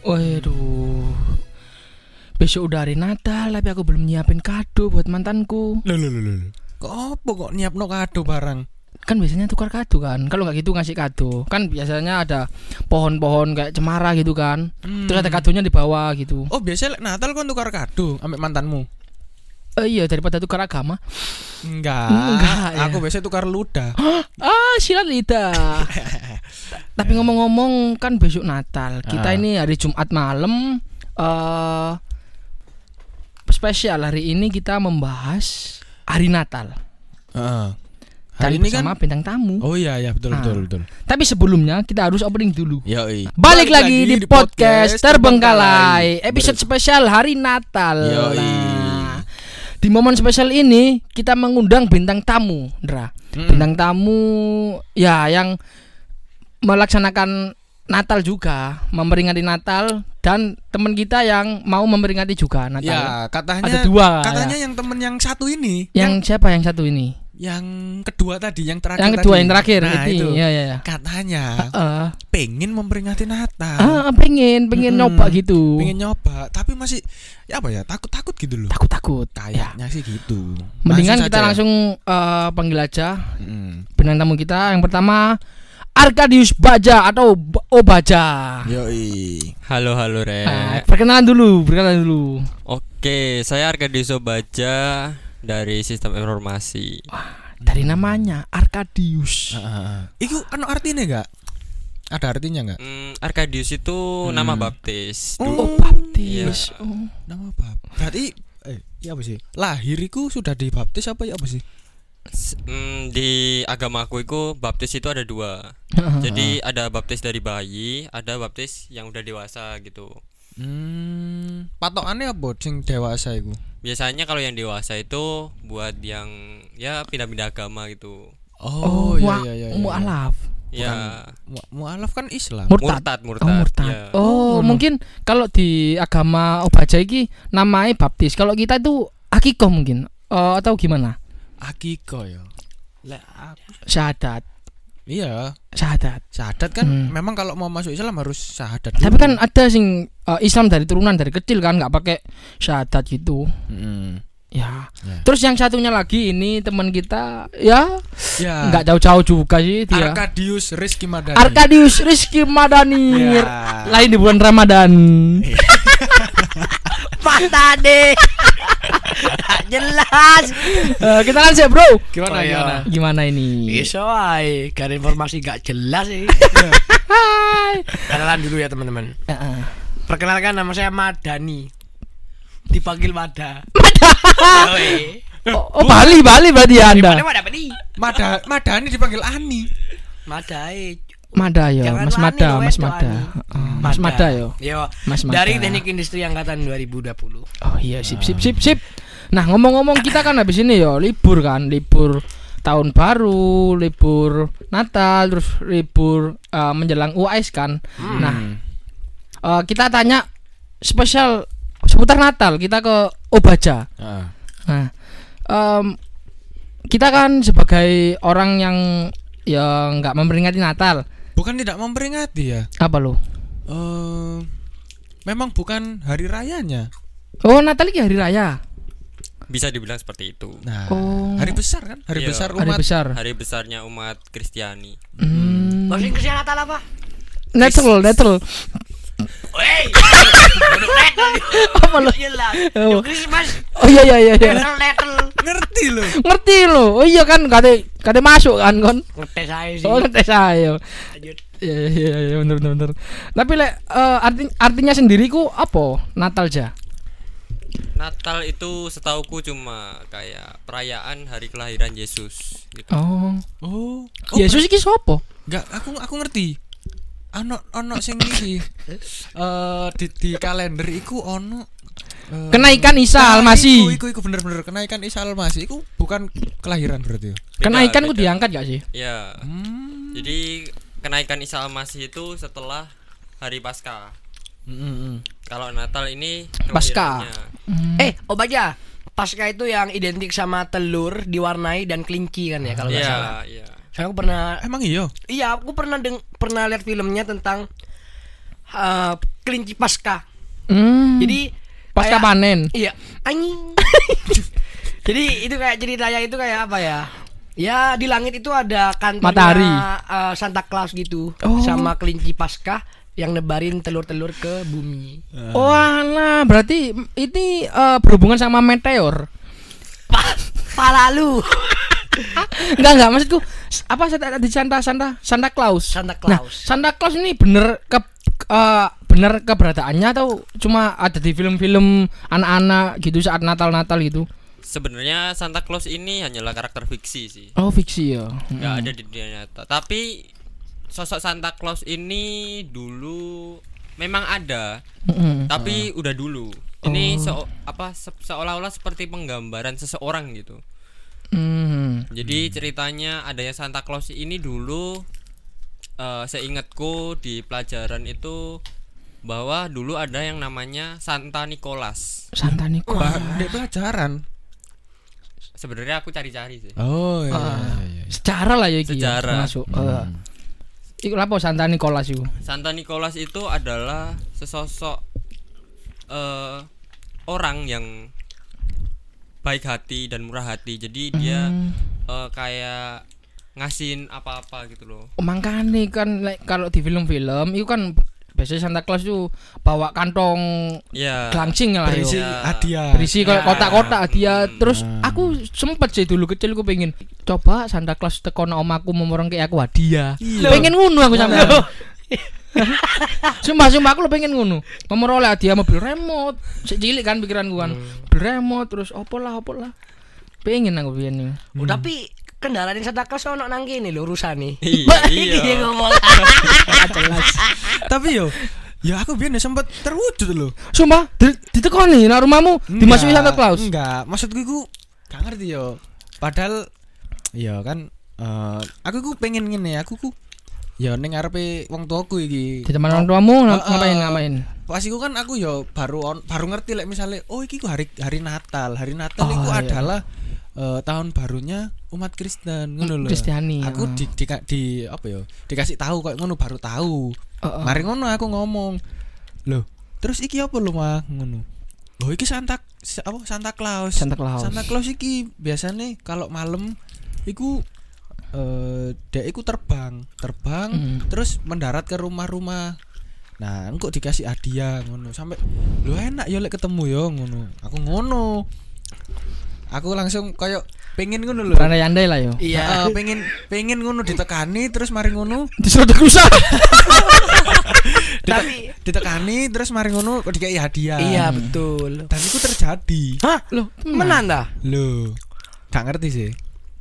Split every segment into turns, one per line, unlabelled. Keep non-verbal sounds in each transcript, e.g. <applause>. Waduh. Besok udah hari Natal tapi aku belum nyiapin kado buat mantanku.
Loh, loh, loh, loh. Kok apa kok nyiapno kado barang?
Kan biasanya tukar kado kan. Kalau nggak gitu ngasih kado. Kan biasanya ada pohon-pohon kayak cemara gitu kan.
Hmm.
Terus ada kadonya di bawah gitu.
Oh, biasanya lek Natal kau tukar kado ambek mantanmu.
Eh, iya daripada tukar agama.
Enggak.
Enggak, ya.
Aku biasanya tukar ludah.
Ah, silat lidah. Ta- Tapi ngomong-ngomong kan besok Natal. Kita
Ah.
ini hari Jumat malam eh spesial hari ini kita membahas hari Natal.
Heeh.
Hari ini bersama bintang tamu.
Oh iya ya betul betul
Ah.
betul.
Tapi sebelumnya kita harus opening dulu.
Yoi.
Balik, lagi, di, podcast, Terbengkalai, episode
Ber-
spesial hari Natal.
Yoi.
Nah, di momen spesial ini kita mengundang bintang tamu, Ndra.
Mm-mm.
Bintang tamu ya yang melaksanakan Natal juga, memperingati Natal dan teman kita yang mau memperingati juga Natal.
Ya, katanya
Ada dua.
Katanya
ya.
yang temen yang satu ini,
yang siapa yang satu ini?
yang kedua tadi, yang terakhir.
yang kedua
tadi.
yang terakhir
Nah,
ini.
itu. Ah.
Ya ya ya.
Katanya
Eh,
pengen memperingati Natal,
ah, pengen pengen
Mm-mm.
nyoba gitu.
Hmm. pengen nyoba, tapi masih ya apa ya takut takut gitu loh.
Takut-takut. Ya.
Kayaknya sih gitu.
Mendingan
Langsung
kita
saja.
langsung eh, panggil aja
Mm.
bintang tamu kita. Yang pertama Arkadius Baja atau B- O Baja.
Ah. Yoi.
Halo halo
Eh.
Re.
Nah, perkenalan dulu, perkenalan dulu.
Oke, saya Arkadius Baja dari Sistem Informasi.
Dari namanya Arkadius.
Iku anu artinya gak? Ada artinya gak?
Hmm, Arkadius itu
Hmm.
nama baptis.
Oh.
Dulu-
Oh,
Iya.
baptis. Oh.
Nama bab. Berarti eh iya apa sih? Lahiriku sudah dibaptis apa ya apa sih?
s- hmm, di agamaku itu baptis itu ada dua. Jadi ada baptis dari bayi, ada baptis yang udah dewasa gitu.
Hmm, patokannya apa sing dewasa iku?
Biasanya kalau yang dewasa itu buat yang ya pindah-pindah agama gitu.
Oh,
iya,
mua-
iya, iya, iya.
mualaf.
Ya
Mu- Mualaf kan Islam.
Murtad.
murtad murtad.
Oh, murtad.
Iya.
ya.
Oh, mungkin kalau di agama Obaja iki namanya baptis. Kalau kita itu akikoh mungkin Eh, atau gimana?
Akiko ya. Lah, aku-
Syahadat.
iya,
Syahadat.
syahadat kan
Hmm.
memang kalau mau masuk Islam harus syahadat.
Tapi
dulu.
kan ada sing eh, Islam dari turunan dari kecil kan nggak pakai syahadat gitu.
Mm.
Ya.
Ya.
Terus yang satunya lagi ini teman kita ya
Ah.
Ya.
nggak iya. jauh-jauh juga sih dia.
Arkadius Rizky Madani.
Arkadius Rizky Madani.
Ya.
Lain di bulan Ramadan.
<laughs> patah deh jelas
Eh, kita lanjut, Bro.
Gimana
Oh, iya.
gimana?
Gimana ini?
iso ay gak ada informasi gak jelas sih
Hai.
kenalan dulu ya teman-teman
Eh, eh.
perkenalkan nama saya Madani dipanggil Mada Eh,
Oh, oh, Bali, Bali berarti ya Anda.
Mada Mada nih
Mada- Madani dipanggil Ani.
Mada eh.
Mada yo,
Jangan
Mas
wani
Mada,
lu,
Mas
wedok,
Mada.
ani.
Heeh, Hmm, Mas Mada yo.
yo
Mas Mada.
Iya, dari teknik industri angkatan 2020
Oh iya sip sip sip sip. Nah ngomong-ngomong kita kan habis ini ya libur kan, libur tahun baru, libur Natal, terus libur eh, menjelang UAS kan.
Mm.
Nah eh, kita tanya spesial seputar Natal kita ke Obaja.
Heeh.
Nah em, kita kan sebagai orang yang yang nggak memperingati Natal
Bukan tidak memperingati ya.
apa lo?
Eh, memang bukan hari rayanya.
Oh Natal ini hari raya,
Bisa dibilang seperti itu.
Nah,
Oh.
hari besar kan? Hari
Iya.
besar
hari
umat.
besar.
Hari besarnya umat Kristiani.
Hmm.
Kau sing kerja Natal apa?
Natural, natural.
Wey,
Apa lo?
jelas.
Oh.
Yo Iya Christmas,
Oh iya iya iya. iya.
Natal, Natal.
Ngerti loh.
Ngerti lo. Oh iya kan kate kate masuk kan kon.
Ngetes aja sih.
Oh ngetes ayo.
Lanjut.
Iya iya iya bener bener bener. Tapi lek eh, arti- artinya sendiri ku apa? Natal ja.
Natal itu setauku cuma kayak perayaan hari kelahiran Yesus gitu.
Oh.
Oh, oh
Yesus iki sapa?
Enggak, aku aku ngerti. Ono ono sing iki. Eh di, di kalender iku ono eh,
Kenaikan Isa
nah,
Almasih.
Iku, iku, iku bener-bener kenaikan Isa Almasih iku bukan kelahiran berarti. ya? Hmm.
Beda,
Kenaikan ku
beda.
diangkat gak sih?
Ya. Jadi kenaikan Isa Almasih itu setelah hari Paskah. Kalau Natal ini
Paskah.
kelahirannya.
Eh, oh baca. Pasca itu yang identik sama telur diwarnai dan kelinci kan ya kalau nggak
Iya,
salah.
iya.
Saya aku pernah
Emang iya?
iya, aku pernah deng pernah lihat filmnya tentang eh, kelinci pasca.
Hmm.
Jadi
pasca
kayak-
panen.
Iya,
<laughs>
anjing. Jadi itu kayak ceritanya itu kayak apa ya? Ya di langit itu ada kantornya
Matahari.
eh, Santa Claus gitu
Oh.
sama kelinci paskah yang nebarin telur-telur ke bumi.
Iya. Walah, Oh, berarti ini eh, berhubungan sama meteor. <laughs>
Palalu.
Enggak enggak maksudku s- apa Santa di Santa Santa Santa Claus.
Santa
Nah,
Claus.
Santa Claus ini bener ke eh, bener keberadaannya atau cuma ada di film-film anak-anak gitu saat Natal-Natal gitu?
Sebenarnya Santa Claus ini hanyalah karakter fiksi sih.
Oh, fiksi ya.
nggak ada di dunia nyata tapi sosok Santa Claus ini dulu memang ada
Mm-mm. Oh.
tapi udah dulu ini seo- apa se- seolah-olah seperti penggambaran seseorang gitu
Mm.
jadi ceritanya adanya Santa Claus ini dulu eh, seingatku di pelajaran itu bahwa dulu ada yang namanya Santa Nicholas
Santa Nicholas.
Bah, di pelajaran.
sebenarnya aku cari-cari sih
Oh iya. iya, iya.
Sejarah lah ya iki. ya,
Sejarah.
Masuk. eh. Iku lapo Santa Nicholas iku?
Santa Nicholas itu adalah sesosok eh orang yang baik hati dan murah hati. Jadi dia eh, kayak ngasihin apa-apa gitu loh.
Oh, makanya kan like, kalau di film-film itu kan biasanya Santa Claus itu bawa kantong
Ya.
gelangsing lah yo.
Berisi
Ya.
hadiah.
berisi kayak
Ya.
kotak-kotak
Iya.
dia
Hmm.
terus aku sempet sih dulu kecil aku pengen coba Santa Claus teko nang omaku memorong kayak aku hadiah
Iya.
pengen ngunu aku sampe <laughs> sumpah sumpah aku lo pengen ngunu memorong oleh hadiah mobil remote Sik cilik kan pikiranku kan
Hmm.
mobil remote terus opo lah opo lah pengen aku biar nih
Hmm.
Oh, tapi kendaraan yang Santa Claus ono nang kene lho rusane.
Iya, <laughs> iya.
<laughs> Dia ngomong.
<laughs>
Tapi yo, ya aku biar sempat terwujud loh.
sumpah di- ditekoni nah rumahmu dimasuki Santa Claus
Enggak, maksudku iku gak ngerti yo. Padahal ya kan eh, aku ku pengen ngene, aku ku ya ning ngarepe wong tuaku iki.
di teman orang tuamu
Oh,
ng- ngapain
eh.
ngapain
Pas iku kan aku ya baru on- baru ngerti lek misalnya oh iki ku hari hari Natal. Hari
Oh,
Natal iku
iya.
adalah eh, tahun barunya umat Kristen ngono lho.
Kristiani,
Aku
ah.
di, di, di apa ya? Dikasih tahu kok ngono baru tahu.
Heeh.
Mari ngono aku ngomong. Loh, terus iki apa lho mah ngono? Loh iki Santa Sa- apa Santa Claus.
Santa Claus.
Santa Claus iki biasanya kalau malam iku eh dia iku terbang, terbang
Mm.
terus mendarat ke rumah-rumah. Nah, engko dikasih hadiah ngono. Sampai lu enak yo lek ketemu yo ngono. Aku ngono. Aku langsung kayak pengen ngono lho.
berandai-andai lah yo
Iya, pengen pengen ngono ditekani terus mari ngono
diseruduk rusak
tapi
ditekani terus mari ngono kok dikai hadiah
iya betul. Hmm.
dan itu terjadi
Hah?
Loh,
Menan dah.
lo gak ngerti sih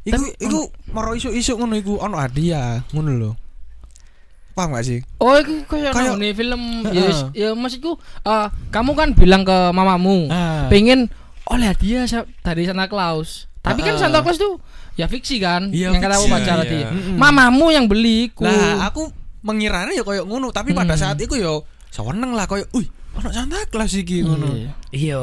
iku
Tapi-
iku moro isu-isu ngono iku ono hadiah ngono lho paham gak sih
Oh, itu kayak
Kayak-
nih film.
Heeh.
Ya, wis- ya maksudku eh, kamu kan bilang ke mamamu
Ah.
pengen oleh dia sa- dari Santa Claus. Tapi kan
Heeh.
Santa Claus tuh ya fiksi kan
Iya,
yang kata
fiksi,
pacar
iya.
tadi.
Mm-mm.
Mamamu yang beli ku.
lah aku mengiranya ya koyo ngono tapi pada
Hmm.
saat itu yo seneng lah koyo uy ono Santa Claus iki ngono
Iya.
Iya,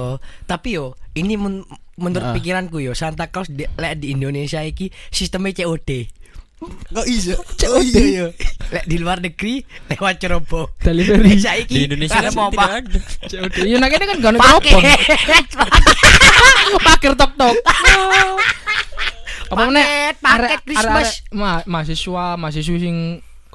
tapi yo ini men-
Ah.
menurut pikiranku yo Santa Claus di, lek di Indonesia iki sistemnya COD.
kok iso
<laughs>
oh iya iya
Lek di luar negeri lewat ceroboh.
Delivery. <laughs>
Lek saiki
Di Indonesia
ada
kan
mau
tidak
apa?
ada.
COD. Ya nah, kene kan gak ada
Pakai.
telepon. Pager
<laughs>
tok-tok. Apa meneh?
Paket, paket
Arek-
Christmas.
arek- ma- mahasiswa, mahasiswi sing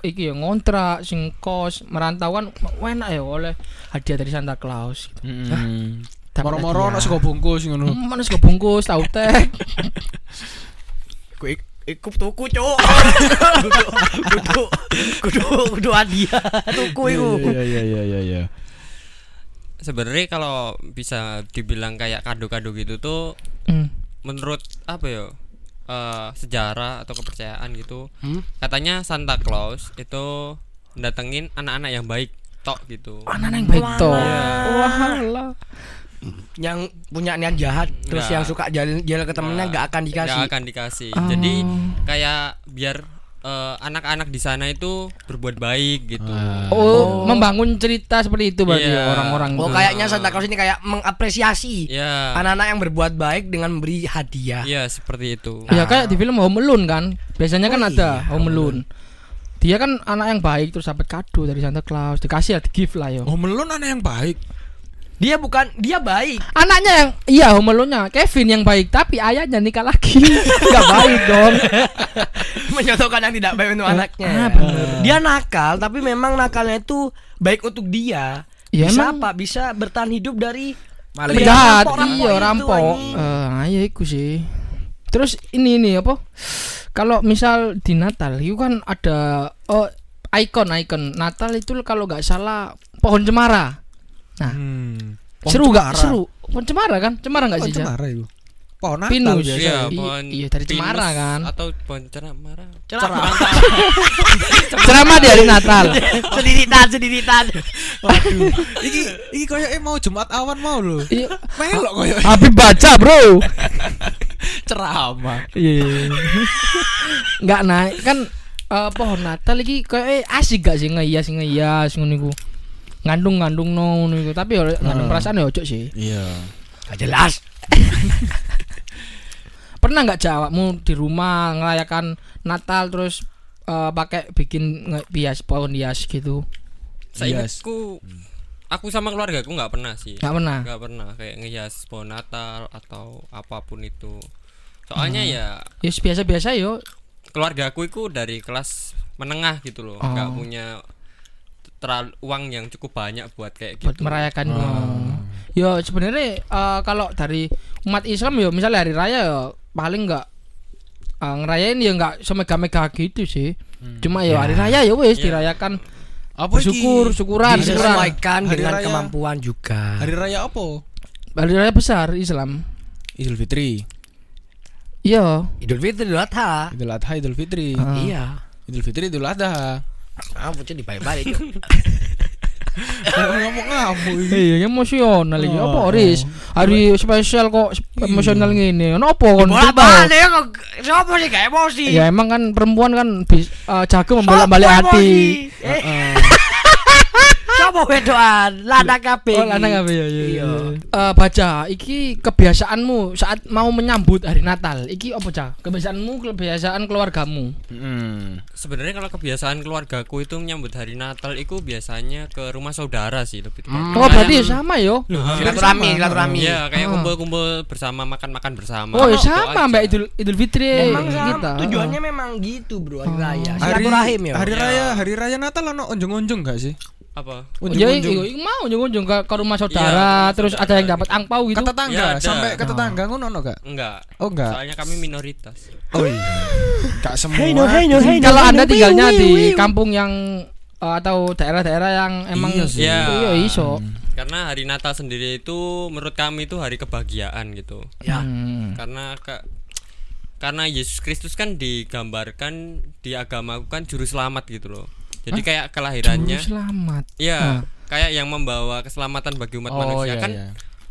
iki ya ngontrak, sing kos, merantau kan enak ya oleh hadiah dari Santa Claus. Dapat
moro-moro ono
hadiah.
sego bungkus ngono
Hmm, manis kebungkus tahu teh.
<laughs> Ku ik- ikut tuku cuk. <laughs> Kudu kudu kudu adia tuku iku.
iya iya iya iya
Sebenarnya kalau bisa dibilang kayak kado-kado gitu tuh
Hmm.
menurut apa ya? eh, sejarah atau kepercayaan gitu.
Hmm?
Katanya Santa Claus itu datengin anak-anak yang baik tok gitu.
Oh, Anak yang baik to. Wah lah.
Yang punya niat jahat terus
Nah.
yang suka jalan-jalan ke temennya
Nggak.
nggak akan dikasih.
Nggak akan dikasih.
Oh.
Jadi kayak biar eh, anak-anak di sana itu berbuat baik gitu.
Oh, membangun cerita seperti itu berarti ya,
Iya.
orang-orang.
Oh
itu.
kayaknya Santa Claus ini kayak mengapresiasi
Ya.
anak-anak yang berbuat baik dengan memberi hadiah.
Ah,
Iya, seperti itu.
Ya kayak di film Home Alone kan. Biasanya kan ada Home Alone. dia kan anak yang baik terus dapat kado dari Santa Claus dikasih ya di gift lah yo
Oh melon anak yang baik.
Dia bukan dia baik. <laughs>
anaknya yang iya homelonya Kevin yang baik tapi ayahnya nikah lagi <laughs> nggak baik dong
Menjodohkan yang tidak baik untuk anaknya.
ah, bener.
Dia nakal tapi memang nakalnya itu baik untuk dia.
Ya,
bisa
emang.
apa? Bisa bertahan hidup dari dari
Maling.
penjahat
rampok-rampok
iya
itu,
rampok
anjing.
eh ayo iku sih terus ini ini apa kalau misal di Natal itu kan ada oh ikon ikon Natal itu kalau nggak salah pohon cemara Ah.
Hmm.
seru nggak
cemara.
seru pohon cemara kan cemara nggak
Pohon
sih Ja?
cemara itu. Pohon Natal ya?
Pinus.
biasa.
Iya,
Iya,
iya,
pohon
iya, dari
pinus
cemara kan.
Atau pohon cemara.
Cerah.
ceramah ya di hari
<laughs>
Natal
sediritan, sediritan.
Waduh. iki iki koyoke mau Jumat awan mau lho.
Iya.
Melok koyo
Habib baca bro
ceramah.
Iya. nggak naik kan eh, pohon Natal iki kayak eh, asik gak sih ngehias ngehias ngono iku ngandung ngandung no ngono iku tapi ya ngandung
Ah.
perasaan ya ojo sih
Iya.
Gak jelas.
pernah nggak jawabmu di rumah ngelayakan Natal terus eh, pakai bikin nge- bias pohon hias gitu
Seingatku aku sama keluarga aku nggak pernah sih.
nggak pernah
Nggak pernah kayak ngehias pohon Natal atau apapun itu. Soalnya ya
ya biasa biasa yo
keluarga aku itu dari kelas menengah gitu loh. Nggak
Oh.
punya terlalu uang yang cukup banyak buat kayak
buat
gitu. Ah.
merayakan Oh. yo sebenarnya eh, kalau dari umat Islam yo misalnya hari raya yo paling nggak eh, ngerayain ya nggak semega-mega gitu sih cuma ya hari raya ya wes
Hmm. Ya.
dirayakan
Apa iki?
bersyukur syukuran syukuran
Disesuaikan
Hari
dengan
raya.
kemampuan juga.
Hari raya apa?
hari raya besar Islam
Idul Fitri.
iya
Idul Fitri Idul Adha.
Idul Adha, Idul Fitri.
Ah.
Iya.
Idul Fitri, Idul Adha. <laughs>
Ah, bocah <laughs> dibalik-balik.
Ngomong ngamuk iki.
Iya, emosional iki.
Oh.
Apa Riz?
Iya.
Hari spesial kok sp- emosional ngene. Ono apa kon?
Bolak-balik ya? kok siapa sih gak emosi?
Ya emang kan perempuan kan bis, eh,
Sopo
jago membolak-balik
emosi?
hati.
Eh. <laughs> Sopo wedoan? Lanang kabeh.
Oh, lanang apa ya? Iya.
Iya.
Eh, baca, iki kebiasaanmu saat mau menyambut hari Natal. Iki apa, Cak? Kebiasaanmu, kebiasaan keluargamu.
Hmm.
Sebenarnya kalau kebiasaan keluargaku itu menyambut hari Natal itu biasanya ke rumah saudara sih lebih tepatnya.
Oh, berarti ya sama yo.
Silaturahmi, silaturahmi.
Iya, kayak
Ah.
kumpul-kumpul bersama makan-makan bersama.
Oh, ya
Gitu
sama
aja.
Mbak Idul Idul Fitri
Memang sama,
kita.
tujuannya memang gitu, Bro, hari
Oh.
raya.
Hari,
Silaturahim ya.
hari raya, hari raya Natal ono onjong-onjong gak sih?
apa?
Ya,
Unjung-unjung.
iya, mau nyunjung ke, ke rumah saudara,
Iya, ke rumah
terus ada
saudara
yang dapat
gitu.
angpau gitu.
Kata
Ya,
tangga,
ada.
sampai
Oh.
kata tangga ngono ono gak?
Enggak.
Oh enggak.
Soalnya kami minoritas.
Oh iya. Gak semua.
Hmm. kalau anda tinggalnya di kampung yang eh, atau daerah-daerah yang emang
Iya sih.
Iya,
Iya.
iso.
Karena hari Natal sendiri itu menurut kami itu hari kebahagiaan gitu.
Ya.
Hmm.
Karena ka- karena Yesus Kristus kan digambarkan di agamaku kan juru selamat gitu loh. Jadi kayak
Juru
kelahirannya
selamat. Ah.
Iya, kayak yang membawa keselamatan bagi umat
Oh iya
manusia kan
iya.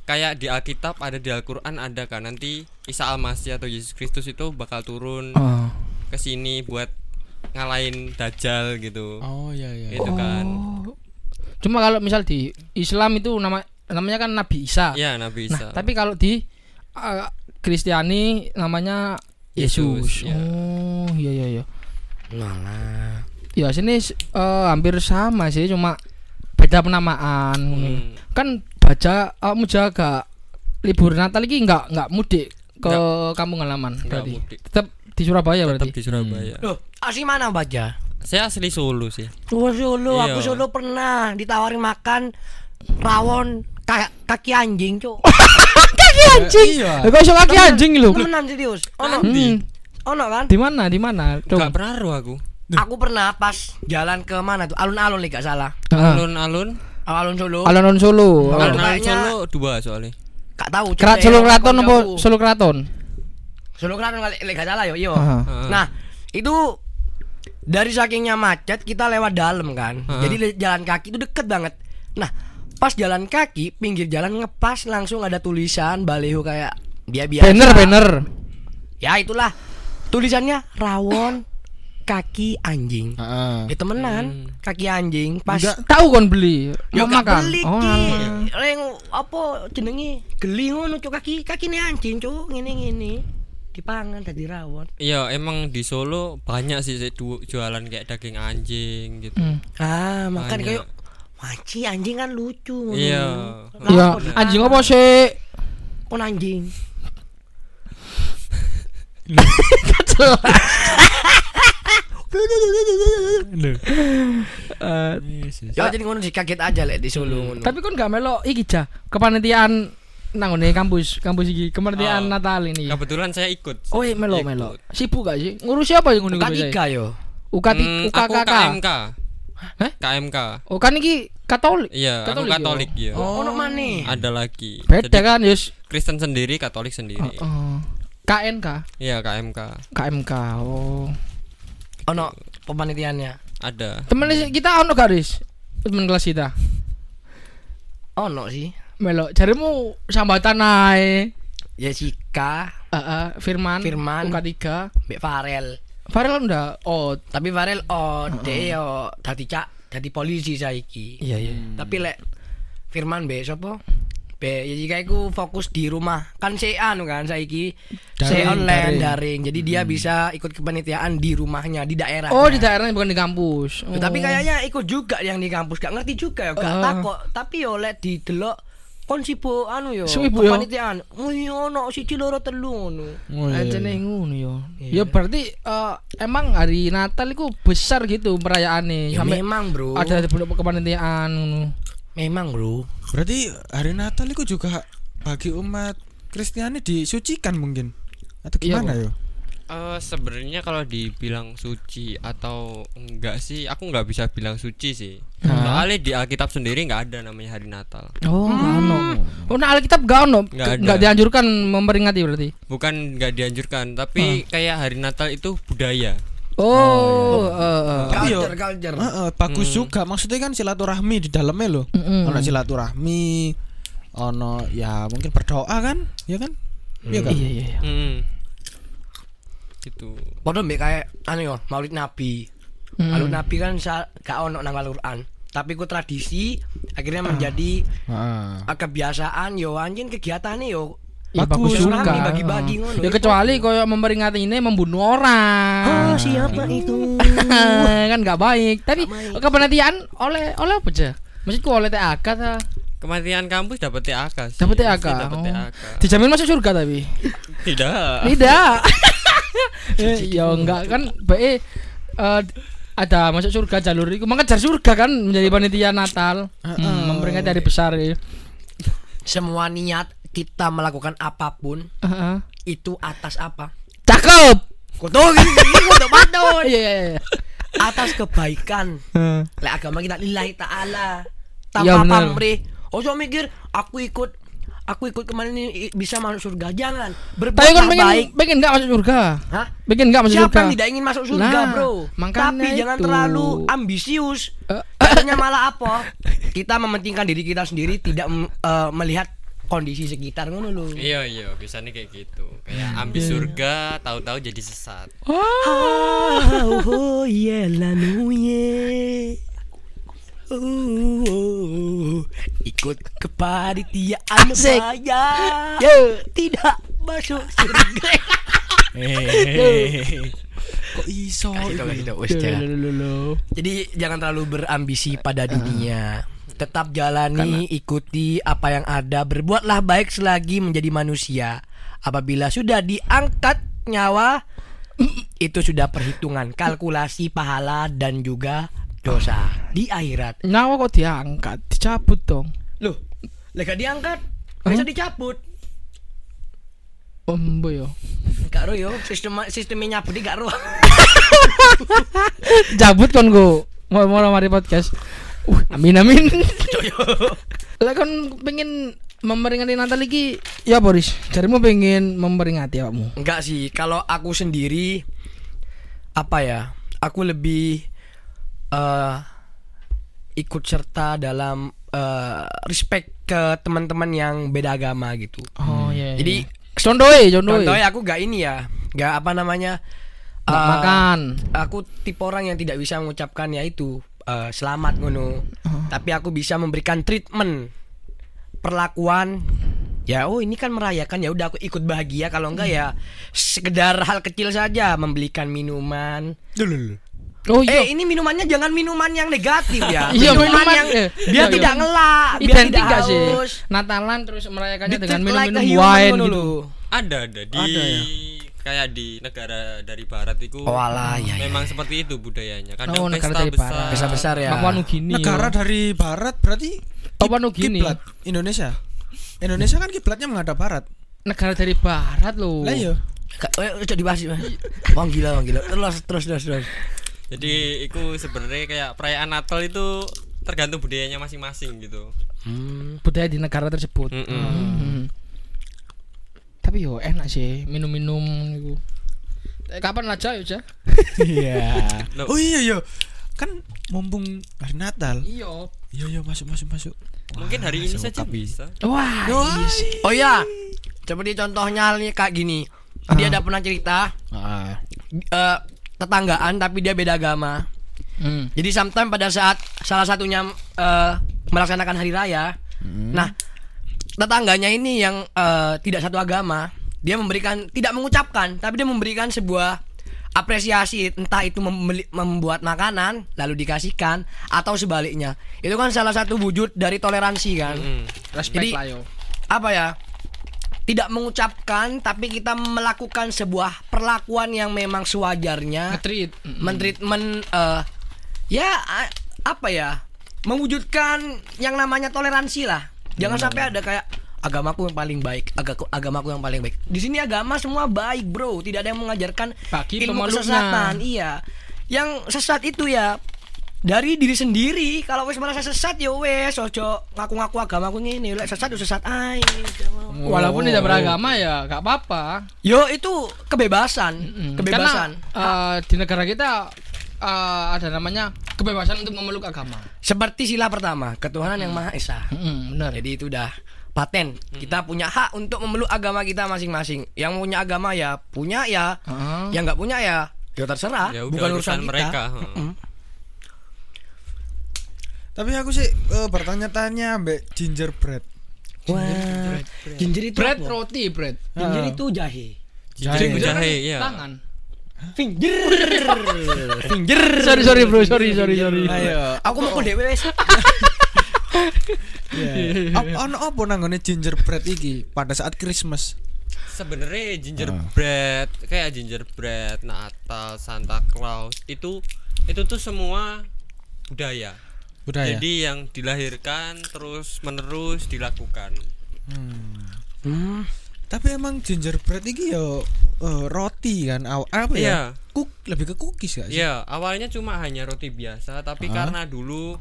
kayak di Alkitab ada di Al-Qur'an ada kan nanti Isa Al-Masih atau Yesus Kristus itu bakal turun
Oh.
ke sini buat ngalahin dajjal gitu.
Oh iya iya.
Gitu kan.
Oh. Cuma kalau misal di Islam itu nama namanya kan Nabi Isa.
Iya, Nabi
nah,
Isa.
tapi kalau di eh, Kristiani namanya Yesus.
Yesus, iya.
Oh, iya iya iya.
Nah,
Ya sini eh, hampir sama sih, cuma beda penamaan.
Hmm.
kan baca kamu jaga libur Natal ini nggak nggak mudik ke kampung halaman
Nggak
berarti
mudik.
tetap di Surabaya
tetap
berarti
di Surabaya.
Loh, asli mana baca?
Saya asli Solo sih.
Gua Solo,
Iya.
aku Solo pernah ditawarin makan rawon ka- kaki anjing, <laughs> Cuk.
kaki anjing
Iya.
Eh, kok iso kaki anjing lu
Temenan serius. Ono,
Hmm.
ono kan?
di mana di mana
Enggak
coba
pernah roh aku.
Aku pernah pas jalan ke mana tuh? Alun-alun nih gak salah.
Ah. Oh.
Alun-alun,
Alun Solo.
alon-alon Solo
Alon-
alun-alun
Kayaknya-
Solo dua soalnya.
Gak tahu. Cuk.
Kerat
Eh,
Solo
aku
Kraton
jauh.
apa Solo Kraton
Solo Kraton kali lek gak salah yo, iya.
Ah.
Heeh.
Nah, itu dari sakingnya macet kita lewat dalam kan.
Heeh.
Jadi le- jalan kaki itu deket banget. Nah, pas jalan kaki pinggir jalan ngepas langsung ada tulisan baleho kayak dia biasa.
banner banner
Ya itulah tulisannya rawon kaki anjing.
Heeh.
Ya temenan kaki anjing pas
Enggak.
tahu kon beli
Ya
mau
gak
makan
beli
oh
ki.
alah.
Reng apa jenenge geli ngono cuk kaki kaki anjing cuk ngene ngene. dipangan tadi rawon.
Iya, emang di Solo banyak sih sih du- jualan kayak daging anjing gitu.
Hmm.
Ah, makan
Banyak.
kayak Wanci anjing kan lucu ngono.
Iya.
Kenapa
Iya,
dipangan?
anjing apa sih?
Kon anjing.
Loh.
Eh,
Yes, yes.
Ya jadi ngono sih kaget aja lek di Solo ngono.
tapi kon gak melo iki ja kepanitiaan nang ngene kampus, kampus iki kepanitiaan
Oh.
Natal ini.
Kebetulan saya ikut.
Oh, iya, melo
Ikut.
melo. Sibuk gak sih? Ngurus siapa yang ngono
Bukan
kuwi,
tiga yo.
Ukat
Hmm, aku
UKKK.
KMK.
Hah?
KMK.
Oh kan iki Katolik.
Iya, aku
Katolik,
Katolik ya.
Oh, ono maneh.
Ada lagi.
Beda
Jadi Iya.
kan, Yus?
Kristen sendiri, Katolik sendiri.
Oh. KNK,
Iya, KMK.
KMK. Oh.
Ono pemanitiannya.
Ada.
Temen kita ono garis. Temen kelas kita.
Ono sih.
Melo, jarimu sambatan ae.
Ya, Jessica,
Heeh, Ah, Firman,
Firman.
UK3.
Mbak Farel.
Farel ndak? Oh,
Tapi Farel oh deh yo dadi cak, dadi polisi saiki.
iya iya.
Tapi lek Firman be sapa? ya Be Jessica iku fokus di rumah. Kan se anu kan saiki se
Daring,
online daring.
daring.
Jadi dia bisa ikut kepanitiaan di rumahnya, di daerah.
Oh, di daerahnya bukan di kampus. Oh.
Tapi kayaknya ikut juga yang di kampus, gak ngerti juga ya, gak
Ah.
takok. Tapi yo lek didelok kon sibuk anu yo,
Sibuk yo.
kepanitiaan. Wih ono siji loro telu ngono.
Oh, iya,
aja
iya.
nih ngono yo.
Iya.
Ya berarti eh, emang hari Natal itu besar gitu perayaannya
Ya
sampai
memang, Bro.
ada bentuk kepanitiaan ngono.
Memang, Bro.
Berarti hari Natal itu juga bagi umat Kristiani disucikan mungkin. Atau
Iya,
gimana ya? yo?
Eh sebenarnya kalau dibilang suci atau enggak sih, aku nggak bisa bilang suci sih. Soalnya di Alkitab sendiri nggak ada namanya hari Natal.
Oh, nggak ono. Oh, nah Alkitab gak ono.
Nggak ada.
Gak dianjurkan memperingati berarti.
Bukan nggak dianjurkan, tapi kayak hari Natal itu budaya.
Oh, eh, eh.
Tapi yo-
Culture, culture.
Heeh, bagus juga. Maksudnya kan silaturahmi di dalamnya loh.
Hmm. Mm-mm.
Ono silaturahmi, ono ya mungkin berdoa kan, ya kan? Iya kan?
Iya iya. iya.
Hmm. Gitu.
Padahal mbek kayak anu yo, Maulid Nabi.
Hmm.
Maulid Nabi kan sa- gak ono nang Al-Qur'an. Tapi ku tradisi
Hmm.
akhirnya menjadi
Heeh.
eh, kebiasaan yo anjing kegiatane yo
Ya, bagus
Bagus.
juga.
Silaturahmi, Iya, bagi-bagi ngono.
Ya kecuali koyo memperingati ini membunuh orang.
Oh, siapa itu?
<laughs> kan nggak baik. Tapi kepenatian oleh oleh apa aja? Maksudku oleh TAK
Iya,
ta.
Kematian kampus dapat TAK sih.
Dapat TAK.
Pasti Dapat
Oh.
TAK.
Dijamin masuk surga tapi.
Tidak.
Ah. <laughs>
Tidak. <laughs> Eh, ya enggak kan bae eh, ada masuk surga jalur itu mengejar surga kan menjadi panitia Natal
Ah.
Hmm, memperingati
iya.
hari besar ya.
Semua niat kita melakukan apapun
Heeh.
itu atas apa?
Cakep.
Kutu ini kutu
Oh
patut.
<laughs> iya iya iya.
Atas kebaikan.
Heeh.
Lek agama kita lillahi taala.
Hmm.
Tanpa
Ya, bener.
pamrih. Ojo mikir aku ikut aku ikut kemarin ini i- bisa masuk surga. Jangan.
Tapi kan
Berbuatlah
pengen
baik.
pengen enggak masuk surga?
Hah?
Pengen enggak masuk
Siapa
surga?
yang tidak ingin masuk surga,
Nah,
Bro?
makanya
Tapi jangan
itu.
terlalu ambisius.
Eh.
Akhirnya malah apa? Kita mementingkan diri kita sendiri, tidak mm, eh, melihat kondisi sekitar ngono lho.
Iya iya bisa nih kayak gitu kayak ambis surga tahu-tahu jadi sesat.
Ah,
Oh, oh, yeah, la nuye. Oh, oh, oh. ikut kepanitiaan
Asik.
saya.
Yo.
Tidak <laughs> masuk surga.
Hehehe. Kok iso?
Gitu, gitu, wes,
Loh,
jangan.
loh, loh, loh.
Jadi jangan terlalu berambisi pada dunia. Tetap jalani, ikuti apa yang ada. Berbuatlah baik selagi menjadi manusia. Apabila sudah diangkat nyawa, itu sudah perhitungan, kalkulasi pahala dan juga dosa di akhirat.
Nyawa kok diangkat, dicabut dong.
Loh, lega diangkat, bisa dicabut.
Ombo yo. <laughs>
Gak ro yo, sistem sistemnya nyabut gak ro.
Cabut kon go. Ngomong mari podcast. Uh, amin
<laughs>
amin. Lah kon pengen memperingati Natal iki ya Boris, jarimu pengen memperingati awakmu.
Enggak sih, kalau aku sendiri apa ya? Aku lebih eh ikut serta dalam eh, respect ke teman-teman yang beda agama gitu.
Oh iya.
Jadi
Jadi contohe, contohe.
contohnya aku gak ini ya, gak apa namanya
Nggak
eh,
makan.
Aku tipe orang yang tidak bisa mengucapkan yaitu eh,
Oh.
selamat ngono. Tapi aku bisa memberikan treatment perlakuan ya oh ini kan merayakan ya udah aku ikut bahagia kalau enggak ya sekedar hal kecil saja membelikan minuman
Dulu.
Oh iya.
eh ini minumannya jangan minuman yang negatif ya
<laughs> Iya, minuman,
yang
eh,
biar
iya, iya.
tidak ngelak biar
identik
tidak
gak sih
haus
Natalan terus merayakannya
Di-treat
dengan
like a
minum-minum
human
wine
ngono
gitu.
lho.
Ada ada di
Ada ya?
kayak di negara dari barat itu.
Oh, alah, ya, ya,
Memang seperti itu budayanya.
Oh,
Kadang
negara
pesta
dari
besar.
barat.
Pesta besar ya.
Papua Nugini.
Negara
ya.
dari barat berarti
Papua
kib-
Nugini.
kiblat Indonesia. Indonesia kan kiblatnya menghadap barat.
negara dari barat loh.
Lah iya.
Ka- eh, udah dibahas Mas. Wah gila, wah gila. Terus terus terus terus.
Jadi itu sebenarnya kayak perayaan Natal itu tergantung budayanya masing-masing gitu.
Hmm.
Budaya di negara tersebut.
Mm-mm.
Mhm. Tapi yo enak sih minum-minum gitu. Eh, Kapan aja ya, Jah?
Iya.
Loh.
<laughs> oh iya iya. Kan mumpung hari Natal.
Iya.
Iya iya masuk masuk masuk.
Mungkin hari ini saja bisa.
Wah, iya sih.
Oh ya. Seperti contohnya nih kayak gini. Dia ada pernah cerita
Ah.
eh, tetanggaan tapi dia beda agama.
Hmm.
Jadi sometimes pada saat salah satunya eh, melaksanakan hari raya, nah tetangganya ini yang eh, tidak satu agama, dia memberikan tidak mengucapkan, tapi dia memberikan sebuah apresiasi entah itu membeli- membuat makanan lalu dikasihkan atau sebaliknya. Itu kan salah satu wujud dari toleransi kan.
Mm.
Respect
Jadi-
lah yo.
Apa ya? Tidak mengucapkan tapi kita melakukan sebuah perlakuan yang memang sewajarnya
Ngetreat. Mm.
mentreatment eh ya a- apa ya mewujudkan yang namanya toleransi lah jangan
Iya,
sampai ada kayak agamaku yang paling baik agaku agamaku yang paling baik di sini agama semua baik bro tidak ada yang mengajarkan
Bagi
ilmu
pemeluknya.
kesesatan iya yang sesat itu ya dari diri sendiri kalau wes merasa sesat ya wes ojo ngaku-ngaku agamaku ini lek sesat yo sesat ae
Oh. Walaupun tidak beragama ya gak apa-apa.
yo itu kebebasan
Mm.
kebebasan
Karena, eh, di negara kita eh, ada namanya kebebasan untuk memeluk agama.
seperti sila pertama ketuhanan yang maha esa
Mm, benar.
Jadi itu udah paten. Kita punya hak untuk memeluk agama kita masing-masing. Yang punya agama ya punya ya.
Heeh.
Yang nggak punya ya ya terserah.
Ya udah
Bukan urusan kita.
mereka. heeh.
Tapi aku sih eh, bertanya-tanya mbak gingerbread.
Wah. Ginger itu
bread
apa?
roti, bread.
Ginger itu jahe.
Jadi
Jahe.
jahe ya.
Tangan.
Finger. <laughs> Finger. Eh,
Sorry, sorry, bro. Sorry, sorry, sorry.
<laughs>
Ayo.
Aku mau ke dewe wes. Iya.
Ap- Ono apa nanggone gingerbread iki pada saat Christmas?
Sebenarnya gingerbread kayak gingerbread, Natal, Santa Claus itu itu tuh semua budaya.
Budaya.
Jadi yang dilahirkan terus menerus dilakukan.
Hmm.
Tapi emang gingerbread iki yo eh, roti kan aw, apa
Iya.
ya? Cook lebih ke cookies gak sih?
Ya awalnya cuma hanya roti biasa tapi karena dulu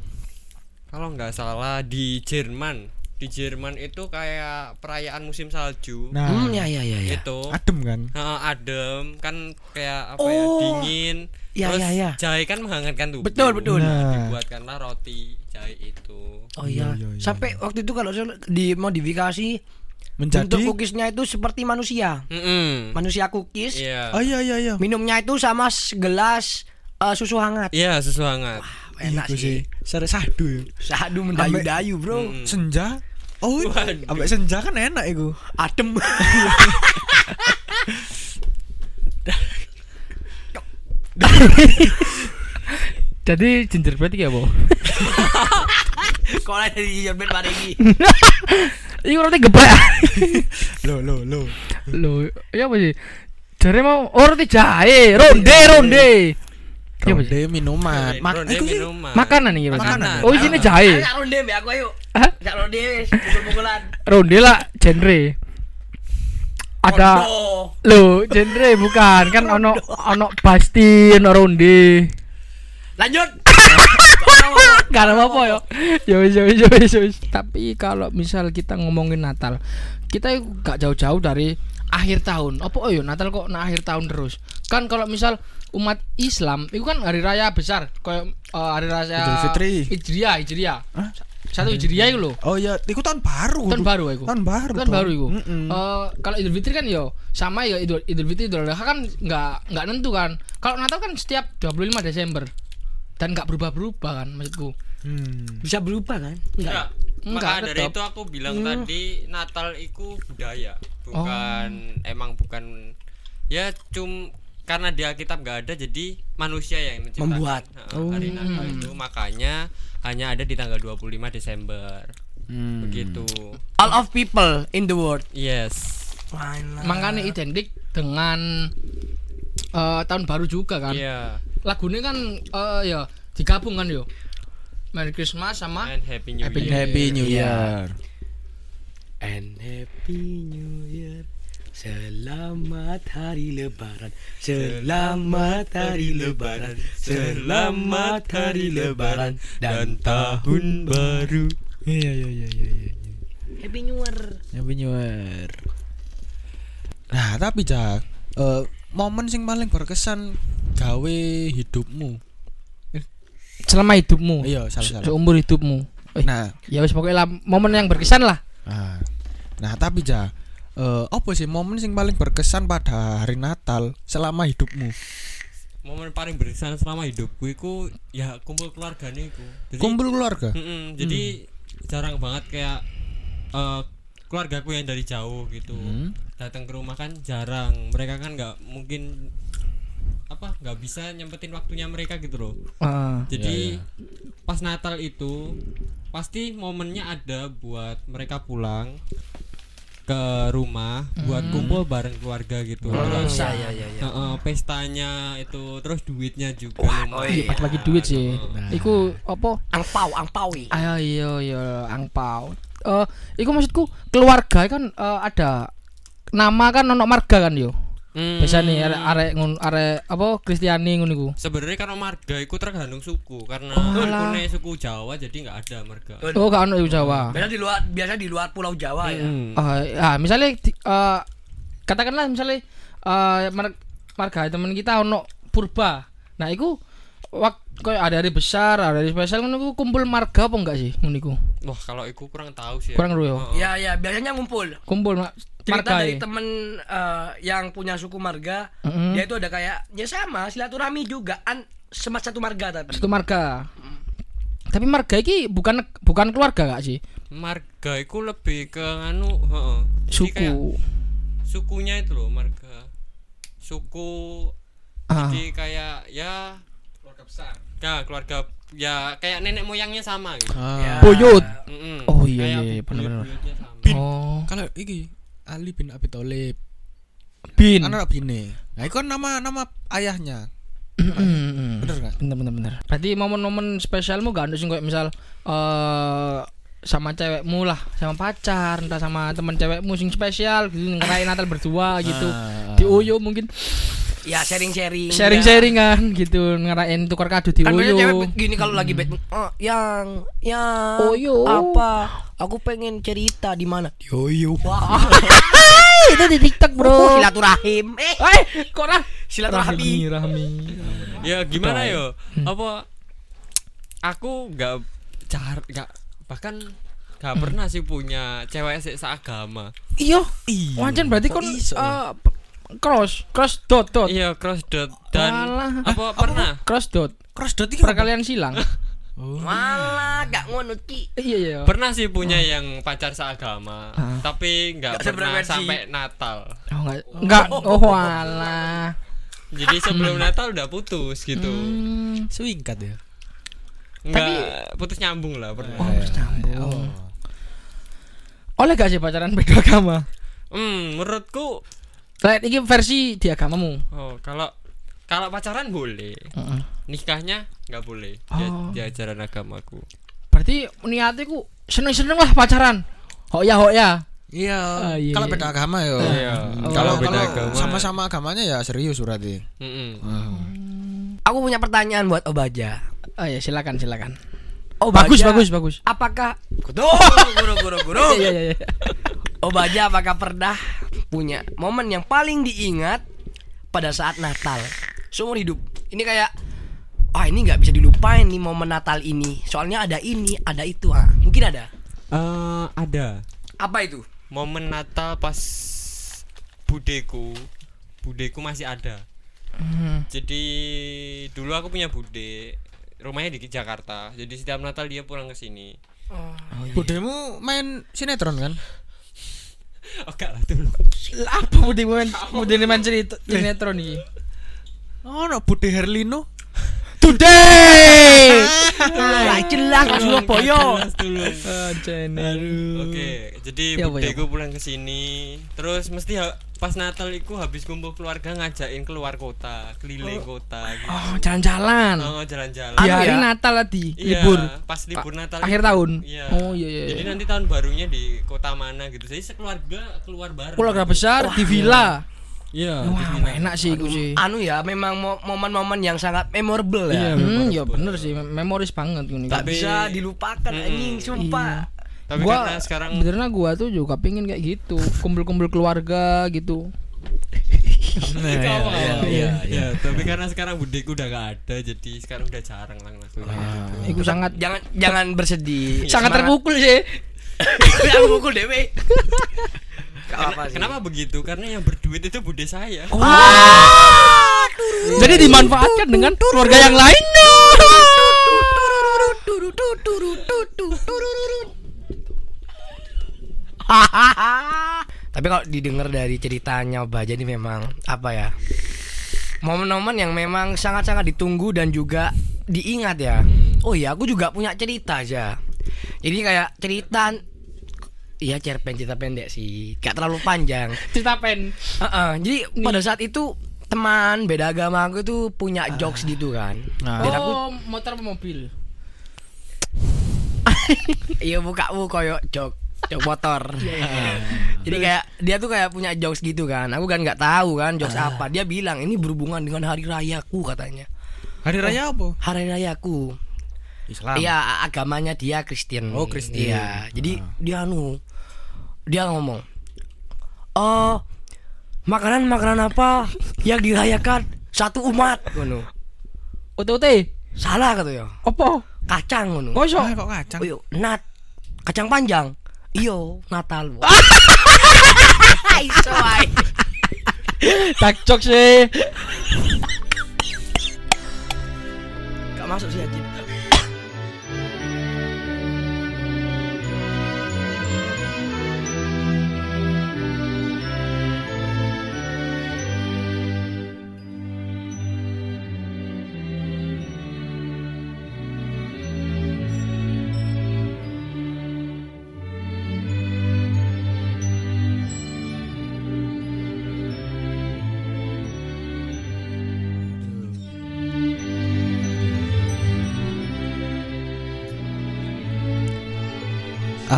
kalau nggak salah di Jerman di Jerman itu kayak perayaan musim salju
Nah,
Hmm, ya ya ya ya.
itu
adem kan?
Heeh, adem kan kayak apa ya
Oh.
dingin
Ya,
terus
ya, ya.
jahe kan menghangatkan tubuh
Betul, betul.
Nah.
dibuatkanlah roti jahe itu
Oh iya.
Iya, iya, iya.
Sampai waktu itu kalau saya dimodifikasi
Menjadi
bentuk cookiesnya itu seperti manusia.
Mm-mm.
Manusia cookies.
iya
Oh iya iya iya.
Minumnya itu sama segelas eh, susu hangat.
iya susu hangat
Enak
Iya, Iku
sih.
Sare sadu ya.
Sadu mendayu-dayu bro
Mm.
Senja. Oh,
Waduh.
ambek senja kan enak iku.
<laughs> Adem
Jadi gingerbread iki apa?
Sekolah dari Jordan Parigi
Iku roti
<laughs>
geprek.
Lo lo lo.
Lho, iya apa sih? Jare mau oh, roti jahe, ronde, ronde. Iya apa sih?
Ronde minuman.
Ronde-
Mak
ronde
iku sih.
minuman.
Makanan iki, Mas.
Makanan.
Oh, isine
Ayo
jahe.
gak ronde mbak ya, aku ayo
Hah?
Gak ronde wes Pukul-pukulan
Ronde lah genre. Ada
Rondo.
Loh, genre bukan kan ono ono pasti ono ronde.
Lanjut
<laughs> Gak ada apa-apa yo. Yo wis, yo wis, yo wis, yo wis. Tapi kalau misal kita ngomongin Natal, kita itu gak jauh-jauh dari akhir tahun. Apa oh yo Natal kok nak akhir tahun terus? Kan kalau misal umat Islam itu kan hari raya besar, kayak eh, hari raya
Idul Fitri.
Hijriah, Hijriah.
Hah?
Satu Hijriah itu loh.
Oh iya, iku tahun baru.
Tahun
Bu.
baru iku.
Tahun baru.
Tahun baru iku.
Mm-mm.
Eh, kalau Idul Fitri kan yo sama ya Idul Idul Fitri Idul Adha kan nggak nggak nentu kan. Kalau Natal kan setiap 25 Desember. dan nggak berubah-berubah kan maksudku
Hmm.
Bisa berubah kan?
Enggak.
Iya. Enggak,
Nah,
Hmm.
Maka dari
tetap.
itu aku bilang tadi Natal itu budaya,
Oh.
bukan emang bukan ya cum karena di Alkitab nggak ada jadi manusia yang menciptakan
Membuat.
Nah, hari Natal
Hmm.
itu makanya hanya ada di tanggal 25 Desember.
Hmm.
Begitu.
All of people in the world.
Yes.
makanya identik dengan eh, tahun baru juga kan
Iya.
lagunya kan eh, ya digabung kan yo Merry Christmas sama
And happy new
Ah. Happy
year.
Happy New Year.
And happy new year. Selamat hari lebaran. Selamat hari lebaran. Selamat hari lebaran dan tahun
baru.
Iya iya iya iya iya.
Happy New Year.
Happy New Year. Nah, tapi Cak, eh, momen sing paling berkesan gawe hidupmu.
selama hidupmu
Iya,
Se-
salah salah.
seumur hidupmu Eh,
Nah,
ya wis pokoknya lah, momen yang berkesan lah
ah. nah tapi Cak, eh, apa sih momen sing paling berkesan pada hari Natal selama hidupmu?
Momen paling berkesan selama hidupku itu ya kumpul keluarganya itu. Jadi-
Kumpul keluarga.
Mm-mm, jadi jarang banget kayak eh, keluargaku yang dari jauh gitu datang ke rumah kan jarang mereka kan nggak mungkin apa nggak bisa nyempetin waktunya mereka gitu loh
Ah,
jadi pas Natal itu pasti momennya ada buat mereka pulang ke rumah buat kumpul bareng keluarga gitu terus
Saya ya ya.
heeh, pestanya itu terus duitnya juga
iya,
lumayan.
bagi duit sih iku apa
Angpau, angpawi.
Ayo iya iya angpau. Eh iku maksudku keluarga kan eh, ada nama kan ono marga kan yo.
Hmm.
Biasa nih arek arek ngun arek apa Kristiani ngono iku.
Sebenarnya karena marga itu tergantung suku karena
Oh,
aku
lah.
nih suku Jawa jadi nggak ada marga.
Oh gak ono yo Jawa.
Biasa di luar biasa di luar Pulau Jawa ya.
Hmm.
Eh, ah misalnya di- eh, katakanlah misalnya eh mar- marga temen kita ono Purba. Nah iku waktu kayak ada hari besar, ada hari spesial ngono iku kumpul marga apa enggak sih ngono iku?
Wah kalau aku kurang tahu sih. ya.
Kurang ero yo.
Oh.
Ya ya, biasanya ngumpul.
Kumpul ma-
Cerita
marga.
dari
ya.
temen eh, yang punya suku marga,
Mm-mm.
dia itu ada kayak ya sama silaturahmi juga an semacam satu marga tapi.
satu marga tapi marga iki bukan bukan keluarga gak sih
Marga itu lebih ke anu heeh. Jadi kayak
suku
sukunya itu loh marga. Suku
Ah.
jadi kayak ya keluarga besar. Ya keluarga ya kayak nenek moyangnya sama gitu.
Ah.
boyut
Mm-mm.
Oh, iya,
Kayak
iya, iya, bener-bener.
buyut-buyutnya sama.
oh
Kalau iki Ali bin Abi Thalib,
bin
anak bini. Nah, itu kan nama nama ayahnya. Bener nggak?
bener bener bener berarti momen-momen spesialmu gak ada sih kayak misal eh sama cewekmu lah sama pacar entah sama teman cewekmu sing spesial gitu ngerayain Natal berdua gitu di Oyo mungkin
Ya sharing-sharing. ya.
sharing-sharingan gitu ngerayain tukar kado di
Kan biasanya cewek
Oyo
gini kalau lagi bad mood, "Oh, yang yang
Oh, yo.
apa? Aku pengen cerita di mana? Yo yo. Wah,
itu di TikTok
bro. Oh, Silaturahim. Eh,
eh kok lah
silaturahmi.
rahmi
ya gimana yo
Hmm.
apa aku nggak jar nggak bahkan nggak
Hmm.
pernah sih punya cewek sih seagama
iya wajan berarti kon eh, p- cross cross dot dot
iya cross dot dan
Oh. Walah.
apa pernah
cross dot
Cross dot iki apa?
perkalian silang
Malah gak ngono ki.
iya iya
pernah sih punya yang pacar seagama
Hah?
tapi nggak
Nggak
pernah
sefrekuensi.
sampai Natal
oh, enggak enggak oh walah
jadi sebelum Natal udah putus gitu
Hmm.
Singkat ya.
nggak putus nyambung lah pernah
oh nyambung oleh gak sih pacaran beda agama
hmm menurutku
Lihat ini versi di agamamu
oh kalau kalau pacaran boleh
Heeh.
nikahnya nggak boleh dia,
Oh.
dia ajaran agamaku
berarti niatnya ku seneng seneng lah pacaran Hok ya hok ya
Iya.
Ah, iya.
Kalau beda agama ya. Hmm.
Iya.
Oh.
Kalau
Beda
kalau sama-sama agamanya ya serius berarti.
Mm-mm.
Aku punya pertanyaan buat Obaja.
oh ya silakan silakan
Obaja,
bagus bagus bagus
Apakah Kudu, guru guru <laughs> guru.
iya iya iya
Obaja apakah pernah punya momen yang paling diingat pada saat Natal seumur hidup? Ini kayak Wah ini nggak bisa dilupain nih momen Natal ini. Soalnya ada ini, ada itu. Ah, mungkin ada.
Eh, ada
Apa itu?
momen Natal pas budeku
Hmm.
budeku masih ada jadi dulu aku punya bude rumahnya di Jakarta jadi setiap Natal dia pulang ke sini
Budemu main sinetron kan?
oh enggak lah dulu
Lah, apa budhe main budhe main cerita sinetron iki?
Oh, no, Bude Herlino.
Today.
Lah jelas Surabaya.
<laughs> Ah,
oke
channel.
jadi
Ya, apa, ya,
budeku pulang ke sini terus mesti ha- pas Natal iku habis kumpul keluarga ngajakin keluar kota keliling kota gitu.
Oh, Ah, jalan-jalan.
Oh, jalan-jalan
Di
Anu
hari
ya?
Natal tadi
Iya,
libur.
pas libur
Pa-
Natal
akhir
itu.
tahun.
Iya.
Oh, iya, iya,
Jadi
iya.
nanti tahun barunya di kota mana gitu. Jadi sekeluarga keluar bareng.
Keluarga
gitu.
besar di villa.
Iya.
Wah, enak sih iku sih.
Anu ya memang mo- momen-momen yang sangat memorable ya.
Iya.
Hmm, ya bener sih, mem- memoris banget ngono
Tak
iku.
Tapi-
bisa dilupakan anjing
Iya.
sumpah.
Tapi karena sekarang
<laughs> benernya gua tuh juga pengen kayak gitu, kumpul-kumpul keluarga gitu.
iya, iya. Tapi karena sekarang budeku udah gak ada, jadi sekarang udah jarang lah ngelakuin. gitu.
Iku sangat
Jangan jangan bersedih. <laughs>
sangat
Semangat.
terpukul sih.
Aku mukul dewe. Gak
Ah.
apa-apa sih.
Kenapa begitu? Karena yang berduit itu bude saya.
Jadi dimanfaatkan dengan keluarga yang lain.
Tapi kalau didengar dari ceritanya Oba jadi memang apa ya? Momen-momen yang memang sangat-sangat ditunggu dan juga diingat ya.
Mm.
Oh iya, aku juga punya cerita aja. Jadi kayak cerita Iya cerpen cerita pendek sih, gak terlalu panjang.
Cerita pen.
Heeh, Jadi pada saat itu teman beda agama aku itu punya jokes gitu kan.
Ah. Nah.
Dan aku
Oh, motor apa mobil?
iya bukamu koyo jok jok motor.
Iya,
<laughs> Jadi kayak dia tuh kayak punya jokes gitu kan. Aku kan nggak tahu kan jokes
Ah.
apa. Dia bilang ini berhubungan dengan hari rayaku katanya.
Hari raya apa?
Hari rayaku.
Islam.
Iya a- agamanya dia Kristen.
Oh, Ah. Kristen.
Iya. Jadi dia anu dia ngomong oh makanan makanan apa yang dirayakan satu umat ngono.
Ote-ote.
Salah kata yo.
Opo?
Kacang ngono.
Kosok.
Ah, kok kacang?
Iyo, nat kacang panjang. Iyo, Natal. Iso ae.
Tak cok sih.
Gak masuk sih Haji.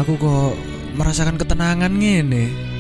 Aku kok merasakan ketenangan ngene.